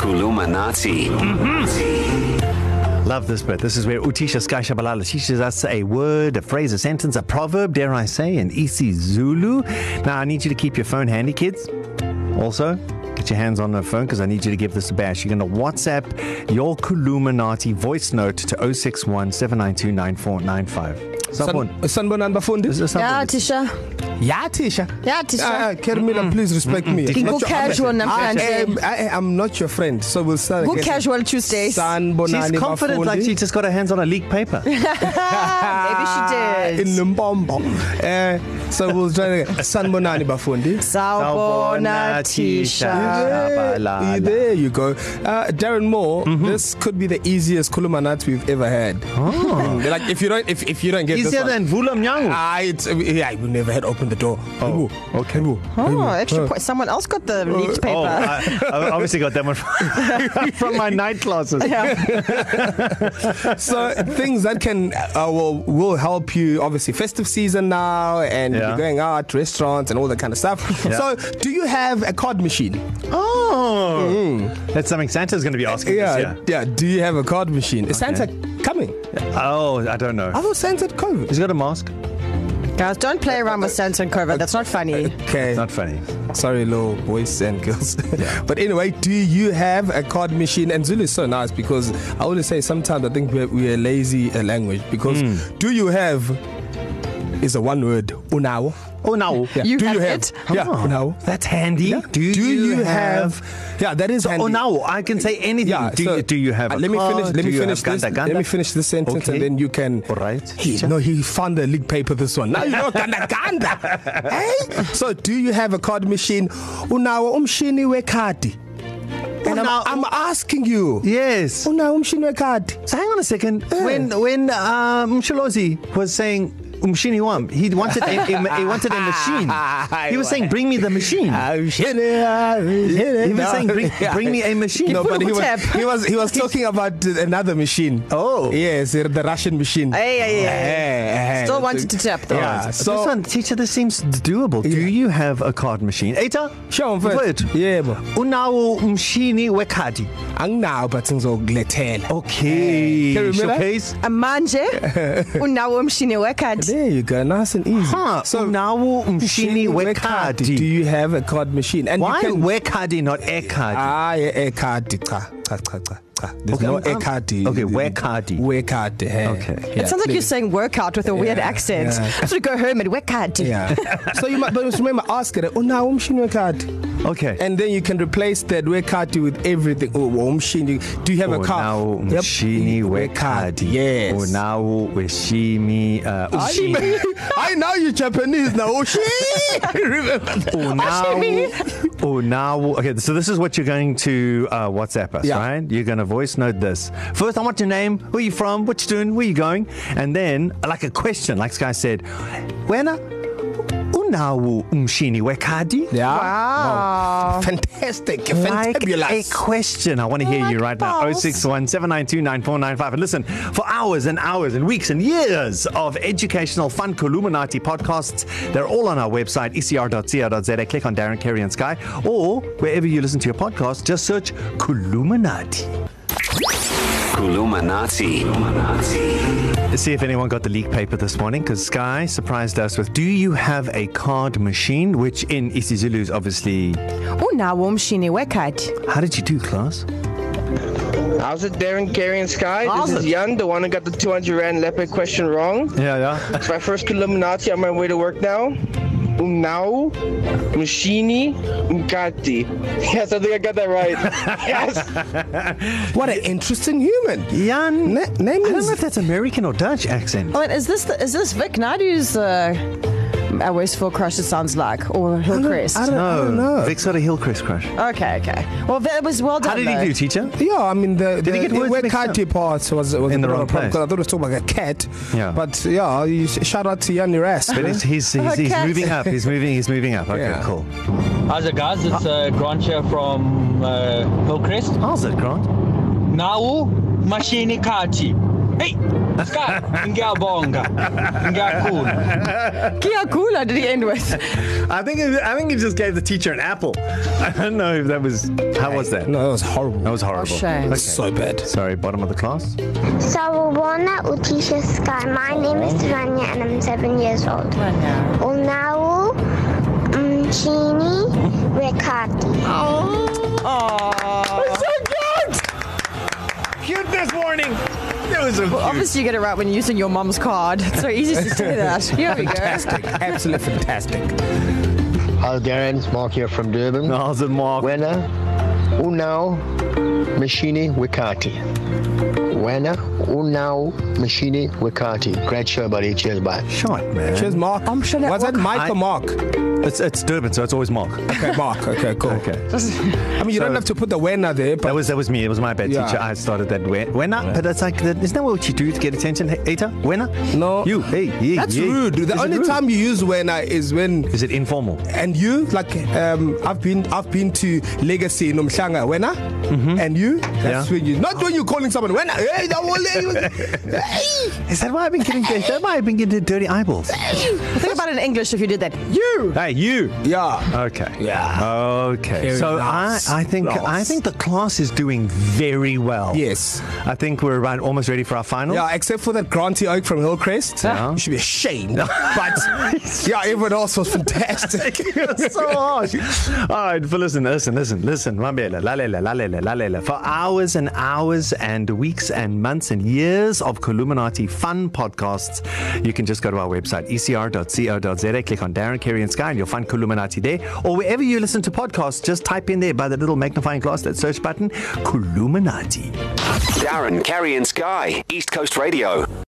Kulumanati. Love this bit. This is where Utisha Skaisha Balala teaches us a word, a phrase, a sentence, a proverb, dare I say, in Isi Zulu. Now, I need you to keep your phone handy, kids. Also, get your hands on the phone because I need you to give this a bash. You're going to WhatsApp your Kuluminati voice note to 061 792 9495. Someone. sanibonani bafundi Yeah, Tisha. ya tisha Yeah, Tisha. Mm. Ah, ah, Carmilla, please respect me. I'm Go not your- casual I namhlanje. am, I am not your friend, so we'll start Go again. casual Tuesdays. Sanibonani She's confident bafundi. like she just got her hands on a leak paper. Ah, maybe she in did. Lumbombo. Uh, so we'll try again. Sanbonani bafundi. Sawbona Tisha. Yeah, there you go. Uh, Darren Moore, mm-hmm. this could be the easiest Kulumanat we've ever had. Oh. like if you don't if, if you don't get this Easier one, Ah, than Vula Mnyangu. I, it's, yeah, I would never had opened the door. Oh, okay. Oh, Hmm. extra point. Someone else got the leaked paper. Oh, I, I obviously got that one from, from my night classes. yeah. So things that can uh, will will help you obviously festive season now and Yeah. you're going out restaurants and all that kind of stuff. Yeah. So do you have a card machine? Oh, mm. that's something Santa's going to be asking yeah. Yeah, this year. yeah. Do you have a card machine? Is Santa coming? Oh, I don't know. I thought Santa had COVID. He's got a mask. Guys, don't play around with Santa and Cova. That's not funny. Okay, Not funny. sorry, little boys and girls. but anyway, do you have a card machine? And Zulu is so nice because I always say sometimes I think we're, we're lazy a language because Hmm. mm. do you have is a one word unao. Oh no. Yeah. You do have you have? it? Yeah, Oh, unao. That's handy. Yeah. Do, do you, you have, have? Yeah, that is. Oh handy. no, I can say anything. Yeah. do, so, you, do you have? Uh, a let me car? finish. Let do me you finish have this. Ganda, Let ganda? me finish this sentence, okay. Okay. and then you can. All right. He, no, he found the league paper. This one. Now you know ganda ganda. hey. So, do you have a card machine? Unawo umshini wekadi. And I'm, Unawo- I'm asking you. Yes. Unawo umshini wekadi. So hang on a second. Yeah. When when uh, Msholozi was saying Umshini Wam, he wanted a, a, he wanted a machine. He was saying, "Bring me the machine." Umshini. He was saying, "Bring, Yeah. bring me a machine." No, but he Tap. was, he was he was talking about another machine. Oh. yes, the Russian machine. Hey, hey, hey. hey. Still wanted to tap though. Yeah. So, this So one, teacher, this seems doable. Yeah. Do you have a card machine? Eta? show him first. Mfowethu, Yebo. Unawo umshini wekhadi. Anginawo but ngizokulethela. Oh, Okay. Can you remember that? Showcase. Manje Oh, unawo umshini wekhadi. There you go, nice and easy. Huh. So, unawo umshini Do wekhadi. you have a card machine? And Why you can ah, wekhadi, not e ekhadi? hayi ekhadi cha cha cha cha cha. There's Okay, no I'm- I'm- ekhadi. okay, wekhadi. Wekhadi. Hey. Okay. eh. Yeah, It sounds like please. you're saying workout with a weird Yeah, accent. yeah. I should go home and wekhadi. Yeah. so you might, but remember, ask "Oh, it. Unawo umshini wekhadi. Okay. Ah, And then you can replace that wekati with everything. Oh, well, umshini. Do you have Oh, a car? unawo umshini yep. wekhadi Yes. Oh, unawo weshimi Ah, uh, ushi- I know you Japanese now. Ushi. Remember Oh, that. unawo unawo okay so this is what you're going to uh, whatsapp us Yeah. right you're going to voice note this first i want your name where you from what you doing where you going and then like a question like sky said wena unawo umshini wekhadi Yeah. Wow. Fantastic. like a Fantabulous. question. I want to hear like you right balls. now. 061 792 9495. And listen, for hours and hours and weeks and years of educational fun Columinati podcasts, they're all on our website, E ecr.co.za. Click on Darren, Kerry, and Sky, or wherever you listen to your podcast, just search Columinati. Kulumanati. Kulumanati. Let's see if anyone got the leak paper this morning because Sky surprised us with Do you have a card machine? Which in isiZulu is obviously. Unawo umshini wekhadi. How did you do, class? How's it, Darren, Gary, and Sky? How's this is it? Jan, the one who got the 200 Rand leopard question wrong. Yeah, yeah. It's my first Illuminati on my way to work now. Umnau, Mushini, Mkati. Yes, I think I got that right. yes. What an interesting human. Jan, Na- name I don't is- know if that's American or Dutch accent. Oh, and is this the, is this Vic Nadu's uh, I always feel crush it sounds like or Hillcrest? I don't, I don't know. Vic's got a Hillcrest crush. Okay, okay. Well, that was well done. How did though. he do, teacher? Yeah, I mean the Did the, he get words the mixed up? Wekati part was, was In the a bit of wrong a place. problem 'cause I thought it was talking about a cat. Yeah. But yeah, you sh- shout out to Yanni Rass. But it's, he's, he's, he's Okay. moving up. He's moving. He's moving up. Okay, yeah. Yeah. cool. How's it, guys? It's uh, Grant here from uh, Hillcrest. How's it, Grant? Now, Machine Kati. Hey! Sky, ngiyabonga, ngiyakhula. Kia Kula did he end with? I think it, I think he just gave the teacher an apple. I don't know if that was how was that? No, Oh, that was horrible. That was horrible. shame. Okay. so bad. Sorry, bottom of the class. Sawabona Utisha Sky. My name is Rania and I'm seven years old. um, Unau Mchini Rekati. Oh. Cuteness warning. That was so cute. Obviously, you get it right when using your mum's card. It's so easy to say that. Here we go. Fantastic. Absolutely fantastic. Hi, Darren. It's Mark here from Durban. Niles and Mark. Wena unao mashini wikati. Wena unao mashini wikati. Great show, buddy. Cheers, bye. Shot, man. Cheers, Mark. I'm sure that was that work- Mike or I- Mark? It's, it's Durban, so it's always Mark. Okay, Mark. Okay, cool. Okay. I mean, you don't So- have to put the winner there, That but was that was me. It was my bad Yeah. teacher. I started that way. When not, but that's like that, isn't that what you do to get attention, Hey, Eta? When not? No. You. Hey. Yeah. that's yeah. rude. The Is it only rude? time you use winner is when Is it informal? and you like um I've been I've been to Legacy in Umhlanga wena mm-hmm. and you that's Yeah. when you not when you're calling someone wena hey that will hey Is that why I've been getting? is that why I've been getting dirty eyeballs? Think about it in English if you did that. You. Hey, you. yeah Okay. Yeah. Okay. Very so nice. I, I think I Class. think the class is doing very well. Yes. I think we're right, almost ready for our final. yeah except for that Granty Oak from Hillcrest Yeah. you should be ashamed but yeah everyone else was fantastic so harsh. All right, but listen, listen, listen, listen. Mambela, lalela, lalela, lalela. For hours and hours and weeks and months and years of Columinati fun podcasts, you can just go to our website, E ecr.co.za, click on Darren, Kerry, and Sky, and you'll find Columinati there. Or wherever you listen to podcasts, just type in there by the little magnifying glass, that search button, Columinati. Darren, Carrie, and Sky, East Coast Radio.